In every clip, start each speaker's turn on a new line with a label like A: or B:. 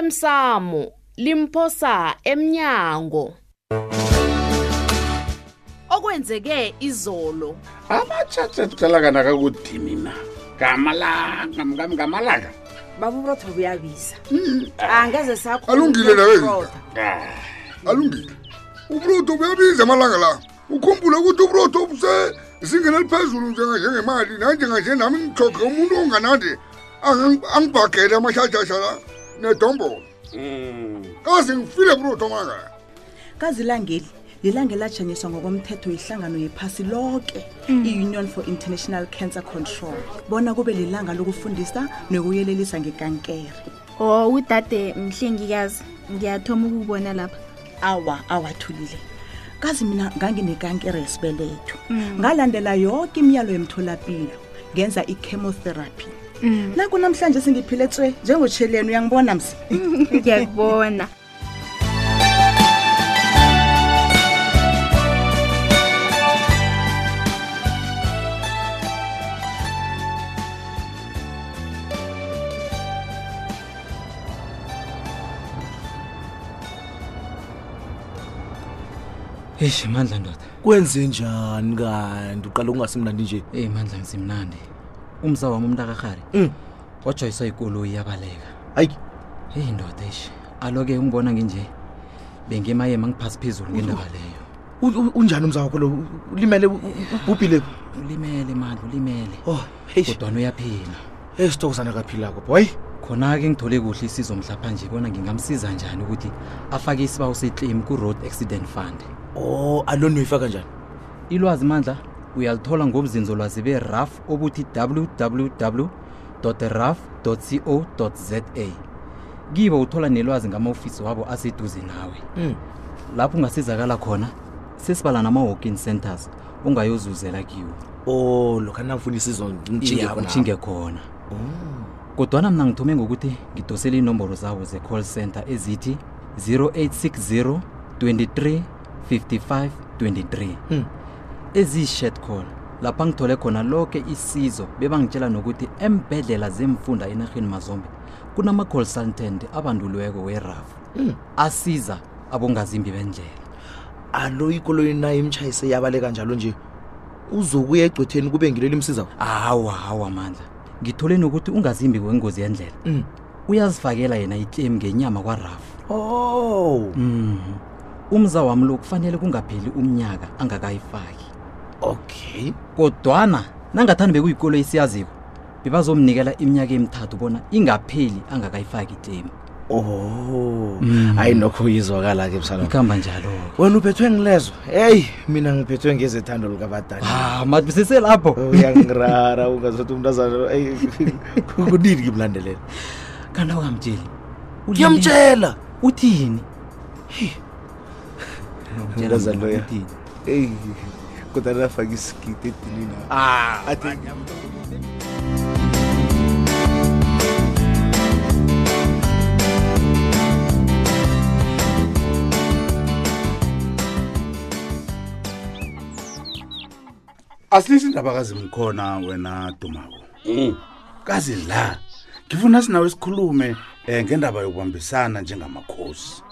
A: osemsamo limphosa emnyango okwenzeke izolo
B: amatshatsa kuhlalakana kakudini na ngamalanga ngam- ngamalanga
C: baba uburotho buyabiza angeze sakho
D: Alungile nawe, Rita.
B: Ah,
D: alungile uburotho buyabiza amalanga la ukhumbule ukuthi uburotho busezingeni eliphezulu njenga- njengemali nanjenganje nami ngithoge umuntu onganandi angang- angibhagele amashashasha la nedombolo
B: mm.
D: kaze ngifile burotho manga
E: kazilangeli lilanga elajanyiswa ngokomthetho yihlangano yephasi lonke i-union for international cancer control bona kube lilanga lokufundisa nokuyelelisa ngekankere
F: o Oh, udade mhlengikazi ngiyathoma ukubona lapha
E: awa awathulile kazi mina nganginekankere yesibeletho ngalandela yonke imiyalo yemtholapilo ngenza i-chemotherapy nakunamhlanje singiphile tswe njengotsheleni uyangibona msi
F: ngiyakubona
G: eish mandla ndoda
H: kwenze njani kanti uqala ukungasimnandi nje
G: eyi mandla ngizimnandi umza wami umntu akarhari wajoyiswa ikoloyi yabaleka
H: hayi
G: eyi ndoda eish alo-ke umbona nginje bengimayema ngiphasi phezulu ngendaba leyo
H: u- u- unjani umza wakho lo ulimele u- u- ubhubhile
G: ulimele mandla ulimele
H: oh heyi
G: kodwana uyaphila
H: esitokuzana kaphilako boy
G: khona-ke ngithole kuhle isizo mhlapha nje bona ngingamsiza njani ukuthi afake isibawo seclaim ku-road accident fund
H: o aloni uyifaka njani
G: ilwazi mandla uyalithola ngobzinzolwazi be-raf obuthi www raf co za kibo uthola nelwazi ngama-ofisi wabo aseduze nawe
H: Mm.
G: lapho ungasizakala khona sesibala nama-walking centers ongayozuzela kiwo
H: o Oh, lokha nangifuna isizo
G: Iya, utjhinge khona kodwana mna ngithume ngokuthi ngidosele inomboro zabo ze-call center ezithi 0860 23 55 23
H: Hmm.
G: eziyi-shed call lapha ngithole khona lonke isizo bebangitshela nokuthi embhedlela zemfunda enarheni mazombe kunama-consultant abanduliweko werafu
H: Hmm.
G: asiza abongazimbi bendlela
H: alo ikoloyi nayo imtshayise yabaleka njalo nje uzokuya egcwetheni kube ngileli imsizako
G: hawa hawa mandla ngithole nokuthi ungazimbi kwengozi yendlela
H: Mm.
G: uyazifakela yena itlem ngenyama kwarafu
H: o
G: mm. umza wami lo kufanele kungapheli umnyaka angakayifaki
H: okay
G: kodwana nangathani bekuyikolo esiyaziko bebazomnikela iminyaka emithathu bona ingapheli angakayifaki itlem
H: o
G: Mm.
H: Oh, hayi nokho uyizwakala ke msana
G: ikuhamba njalo
H: wena uphethwe ngilezo heyi mina ngiphethwe ngezethando likabadala
G: ah madibisise lapho
H: uyangirara ungazothi umuntu azalo kunini ngimlandelela
G: kanti awukamtsheli
H: ngiyamtshela
G: uthini
H: Umntazana loya.
G: uthini
H: eyi kodwana afake isigidi edinina
I: asilisi indaba kazimkhona wena dumako kazi la ngifuna sinawe sikhulume um ngendaba yokubambisana njengamakhosi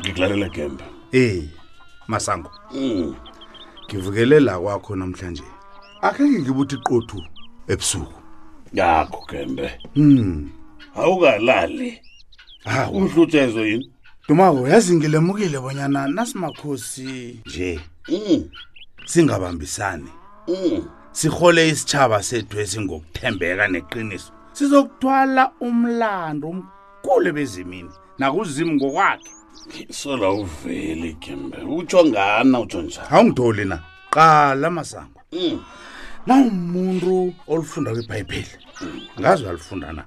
B: ngikulalela gembe
I: eyi masango
B: Mm.
I: ngivukele la kwakho namhlanje akhange ngibuthi qothu ebusuku
B: yakho gembe
I: hmm
B: awukalali
I: hawu
B: umhlutshezwe yini
I: dumako yazi ngilemukile bonyana nasimakhosi nje
B: Mm,
I: singabambisani
B: mm.
I: sihole isitshaba sethu esingokuthembeka neqiniso sizokuthwala umlando omkhulu bezimini nakuzimu ngokwakhe
B: sola uveli gembe utsho ngana utsho njani
I: awungitholi na qala masango
B: Mm.
I: nawumuntu olufunda kwibhayibheli ngazi uyalifunda na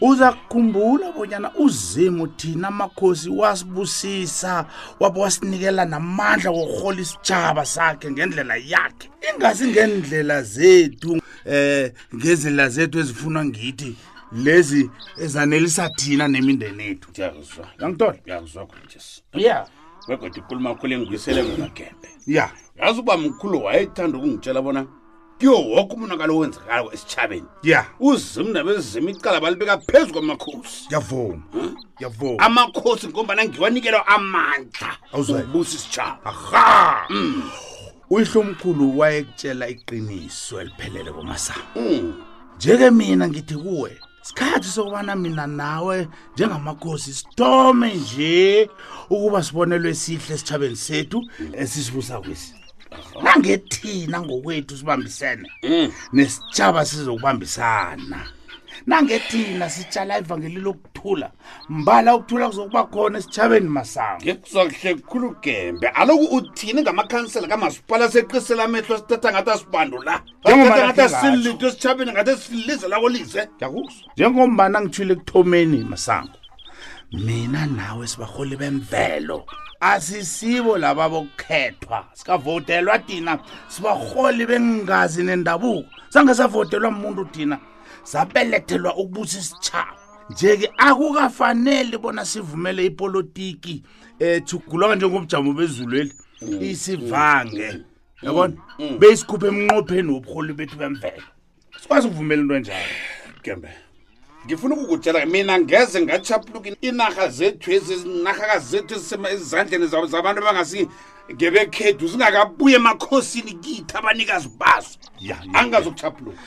I: uza kukhumbula bonyana uzimu thina amakhosi wasibusisa wabe wasinikela namandla wokurhola isitshaba sakhe ngendlela yakhe ingasi ngendlela zethu eh ngezindlela zethu ezifunwa ngithi lezi ezanelisa thina nemindeni yethu
B: ndiyakuzwa
I: yangithola
B: ndiyakuzwa khona jesu
I: ya
B: begode ikhuluma khulu engibuyisele ngona gembe
I: ya
B: yazi uba mkhulu wayethanda ukungitshela bona kuyo woke umonakalo owenzekalo esitshabeni
I: ya
B: uzimna bezima icala balibeka phezu kwamakhosi
I: ngiyavuma ngiyavuma
B: amakhosi ngombana ngiwanikelwa amandla
I: Awuzwayi?
B: ukubusa isitshaba
I: aha uyihlomkhulu wayekutshela iqiniso eliphelele komasama
B: Mm.
I: njeke mina ngithi kuwe sikhathi sokubana mina nawe njengamakhosi sithome nje ukuba sibonelwe sihle esithabeni sethu esisibusa kwesi nangethina ngokwethu sibambisene nesitshaba sizokubambisana nangethina sitshala ivangeli lokuthula mbala ukuthula kuzokuba khona esitshabeni masango
B: ngekuzwa kuhle kukhulu gembe aloku uthini ngamakhansela kamasipala seqisela amehlo sithatha ngathi asibandula
I: Njengoba
B: Sithatha ngathi
I: nakhe ngatsho.
B: asililito esitshabeni ngathi sililize lakolise
I: ngiyakuzwa njengombana ngithile ekuthomeni masango mina nawe sibaholi bemvelo asisibo laba bokukhethwa sikavotelwa thina sibaholi bengazi nendabuko sange savotelwa muntu thina sabelethelwa ukubusa isitshaba nje-ke akukafaneli bona sivumele ipolitiki ethugulwaka njengobujamo bezulweli isivange yabona beyisikhuphe emnqopheni wobuholi bethu bemvelo sikwazi ukuvumela into enjalo
B: gembe ngifuna ukukutshela mina ngeze ngatshapuluka inarha zethu ezi zinarhakazi zethu ezisema ezandleni zabo zabantu abangasingebekhedu zingakabuye emakhosini kithi abanikazi bazo
I: Ya, ya,
B: angingazokutshapuluka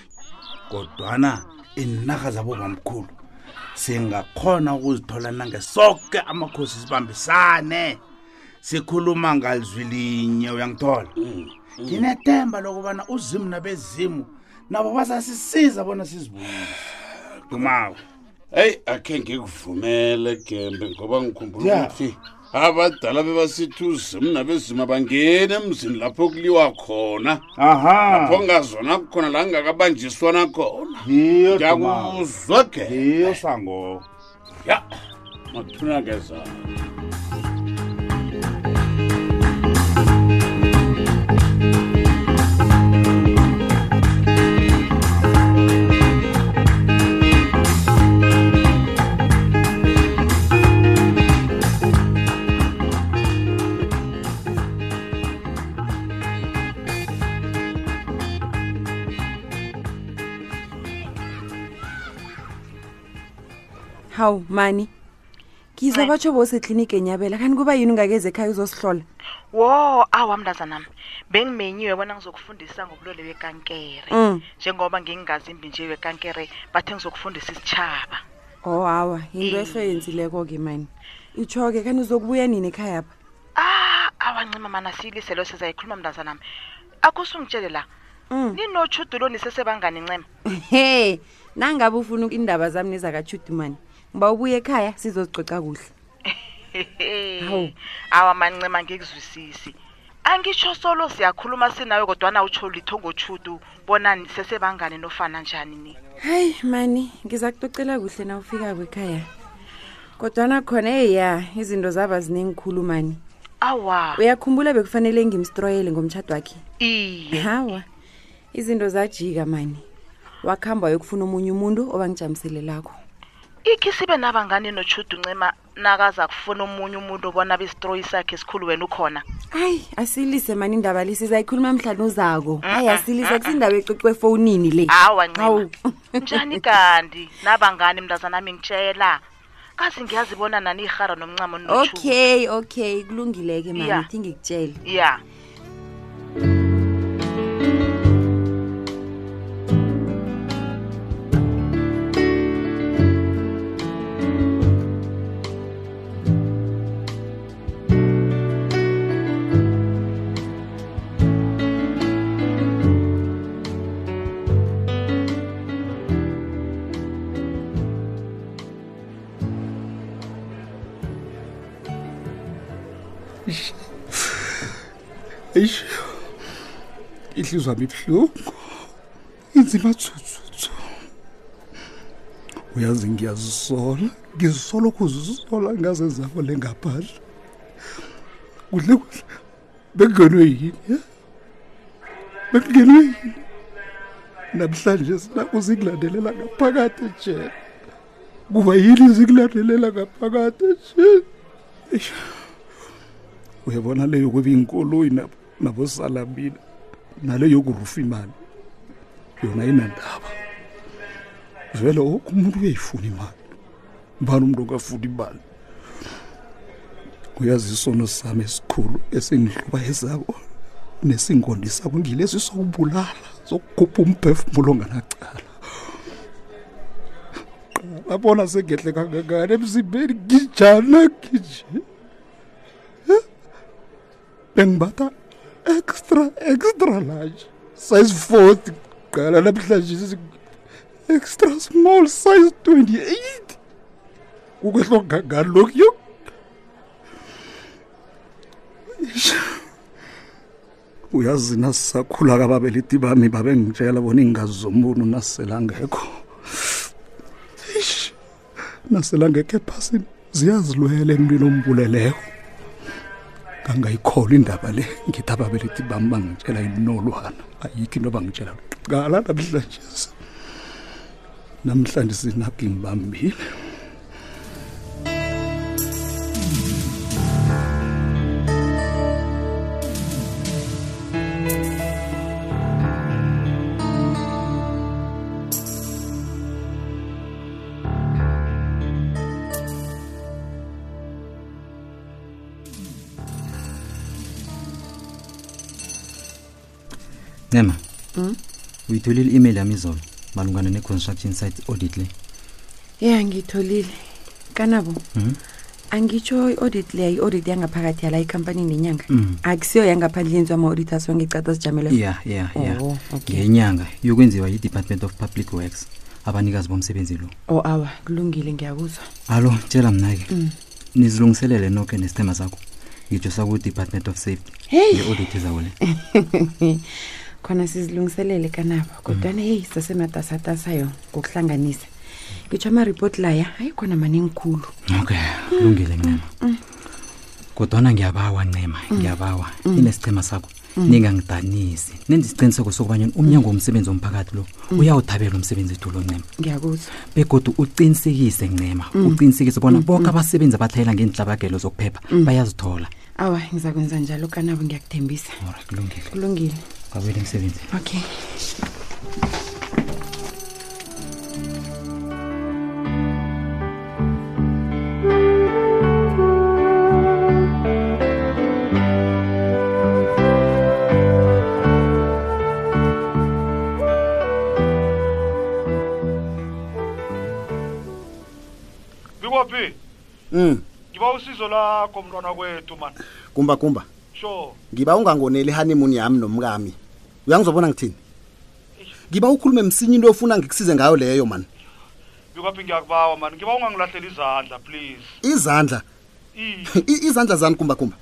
I: kodwana inarha zabobamkhulu singakhona ukuzithola nange soke amakhosi sibambisane sikhuluma ngalizwi linye uyangithola nginethemba lokubana uzimu nabezimu nabo bazasisiza bona sizibuyise dumako
B: eyi akhe ngikuvumele gembe ngoba ngikhumbula
I: Ya.
B: ukuthi abadala bebasithi uzimu nabezima bangeni emzini lapho kuliwa khona lapho
I: aha
B: ngazona khona la ngingakabanjiswana khona
I: yiyo Dumako.
B: ngiyakuzwa gembe
I: yiyo sangoo
B: ya mathuna ngezana
C: hawu mani ngiza batsho bosekliniki enyabela kanti kuba yini ungakeze ekhaya uzosihlola
E: wo awa mntazanami bengimenyiwe bona ngizokufundisa ngobulwele bekankere
C: Mm.
E: njengoba ngingingazimbi nje wekankere bathe ngizokufundisa isitshaba
C: o hawa yinto
E: Eh.
C: ehleyenzileko-ke mani itsho-ke kanti uzokubuya nini ekhaya pha
E: a awancima Ah, mana siyiliselo sizayikhuluma mntazanami akusungitshele la
C: Mm.
E: ninotshudulo nisesebangani ncema
C: he nangabe ufuna indaba zami nezakatshudumani ngiba ubuye ekhaya sizozicoca kuhle Hawu.
E: awa mancima ngikuzwisisi angitsho solo siyakhuluma sinawe kodwana utsho litho ngotshudu bona nisesebangani nofana njani ni
C: hayi mani ngiza kucocela kuhle na ufika kwekhaya kodwana khona eya izinto zaba ziningikhulu mani
E: awa
C: uyakhumbula bekufanele ngimstroyele ngomtshato wakhe
E: iye
C: hawa izinto zajika mani wakuhamba wayokufuna omunye umuntu obangijamiselelakho
E: ikhi sibe nabangane notshudu ncema nakaza kufuna omunye umuntu obona bisitroyi sakhe sikhulu wena ukhona
C: ayi asilise mani indaba le sizayikhuluma mhlane uzako ayi asilise kusindaba ecocwe efowunini le
E: awa
C: Hawu.
E: ncema njani kanti nabangane mntazanami ngitshela kazi ngiyazibona naniyirhara nomncamo notshudu
C: okay okay kulungileke mani
E: Ya.
C: thi ngikutshele
E: ya
I: eish ihlizwa bibuhlungu inzima tsutsutshu uyazi ngiyazisola ngizisola ukuzisola ngaze zabo le ngaphandle kudle kuhle bekungenwe yini ya bekungenwe yini namhlanje sina uzikulandelela ngaphakathi nje kuba yini izikulandelela ngaphakathi nje eish uyabona leyo kuba inkoloyi nab- nabosalamina naleyo kurufa imali yona inandaba vele woke umuntu uyayifuna imali mbani umntu ongafundi ibali uyazi isono sami esikhulu esindihluba ezabo nesingondi sabo ngilesi sokubulala sokukhupha umphefumulo onganacala abona sengehle kangangani emzimbeni ngijana ngije bengibatha extra extra large size 40 qala namhlanje sisi- extra small size 28 kukwehlo kangangani lokyo uyazi nasisakhula kababeliti bami babengitshela bona iingazi zomuntu nasiselangekho Eish, naselangekho ephasini ziyazilwela emntwini ombuleleko kangayikhola indaba le ngithi ababeleti bami bangitshela inolwana ayikho into bangitshela qala namhlanje namhlanje sinaki ngibambile
G: ncema
C: Mm.
G: uyitholile i-email yami izolo malungana ne-construction site audit le
C: ya ngitholile kanabo
G: Mhm.
C: angitsho i-audit leya i-audit yangaphakathi yala ekhampanini nenyanga
G: Mhm.
C: akusiyo yangaphandle yenziwa ama-audita songecata sijamele
G: ya ya ya
C: Oh, okay.
G: ngenyanga yokwenziwa yi-department of public works abanikazi bomsebenzi lo
C: o Oh, awa kulungile ngiyakuzwa
G: alo tshela mna-ke
C: Mm.
G: nizilungiselele noke nesithema sakho ngitsho saku-department of safety
C: Hey.
G: nge-audit ezawo le
C: khona sizilungiselele kanabo kodwana yeyi sasematasa-tasayo ngokuhlanganisa ngitsho amaripoti laya hayi khona maningikhulu
G: okay kulungile ncema
C: Hmm.
G: kodwana ngiyabawa ncema ngiyabawa
C: Mm.
G: inesithema sakho
C: Mm.
G: ningangidanisi nenza isiqiniseko sokubanyana umnyango womsebenzi womphakathi lo
C: Mm.
G: uyawuthabela umsebenzi ethu lo ncema
C: ngiyakuzwa
G: begodwa uqinisekise ncema
C: Mm.
G: uqinisekise bona
C: Mm,
G: boke
C: mm.
G: abasebenzi abatlhayela ngeentlabagelo zokuphepha
C: Mm.
G: bayazithola
C: awa ngiza kwenza njalo kanabo ngiyakuthembisa
G: kulungile
C: kulungile
G: kwabela emsebenzi
C: okay
J: bikwaphi
D: Mm,
J: ngiba usizo lakho mntwana kwethu mani
D: kumba kumba.
J: sure
D: Ngiba ungangoneli honeymoon yami nomkami. Uyangizobona ngithini? Ngiba ukhulume msinyi into ofuna ngikusize ngayo leyo man.
J: bikwaphi ngiyakubawa mani ngiba ungangilahleli izandla please
D: Izandla.
J: i
D: I- Izandla zani kumba kumba.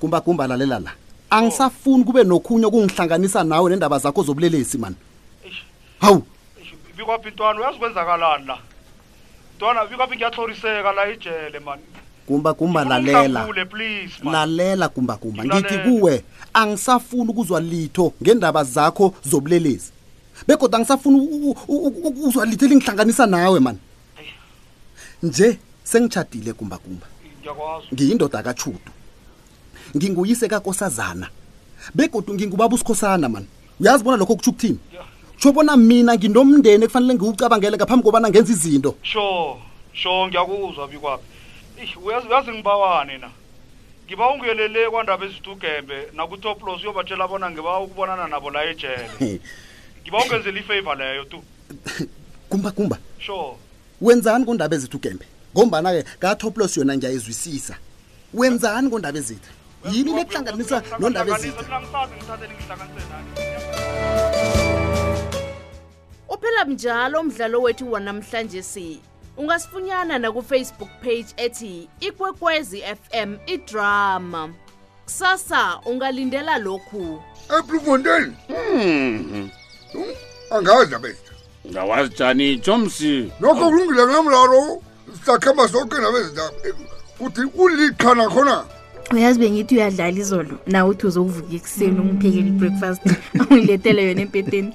D: Kumba kumba lalela la. Angisafuni kube nokhunye okungihlanganisa nawe nendaba zakho zobulelesi man. Hawu,
J: bikwaphi ntwana uyazikwenzakalani la ntwana bikwaphi ngiyatloriseka la ijele mani
D: kumba kumba lalela.
J: Ungidabule, please
D: Lalela kumba kumba. Ngithi
J: Ngikulalela.
D: kuwe angisafuni ukuzwa litho ngendaba zakho zobulelesi. Bekodwa angisafuni u- u- u- u- uzwa litho elingihlanganisa nawe man. Nje sengitshadile kumba kumba.
J: ngiyakwazi
D: ngiyindoda kaChudu nginguyise kaNkosazana begodu ngingubaba uSikhosana man uyazibona lokho kuthi ukuthini Chobona mina nginomndeni ekufanele ngiwucabangele ngaphambi kobana ngenza izinto
J: sure sure ngiyakuzwa bikwaphi Eish, uyazi uyazi ngibawane na ngiba ungiyelele kwandaba ezitugembe nakutoplos uyobatshela bona ngiba ukubonana nabo la ejele ngiba ungenzela ifavor leyo tu
D: kumba kumba
J: sure
D: wenzani kondaba ezithu gembe ngombana ke kaToplos yona ngiyayizwisisa wenzani kondaba ezithu yini lekuhlanganisa nondaba ezithu
J: mina ngisazi ngithathele ngihlanganise nani
A: uphela njalo umdlalo wethu wanamhlanje si ungasifunyana na ku Facebook page ethi ikwekwezi fm idrama kusasa ungalindela lokhu
K: eblufontein
B: Mhm.
K: angazi abethu
B: ngawazi njani jomsi
K: nokho kulungile kunamlalo sakhamba sonke nabezindaba uthi uliqhana khona
F: uyazi bengithi uyadlala izolo nawe uthi uzokuvuka ekuseni ungiphekele i-breakfast ungilethele yona empeteni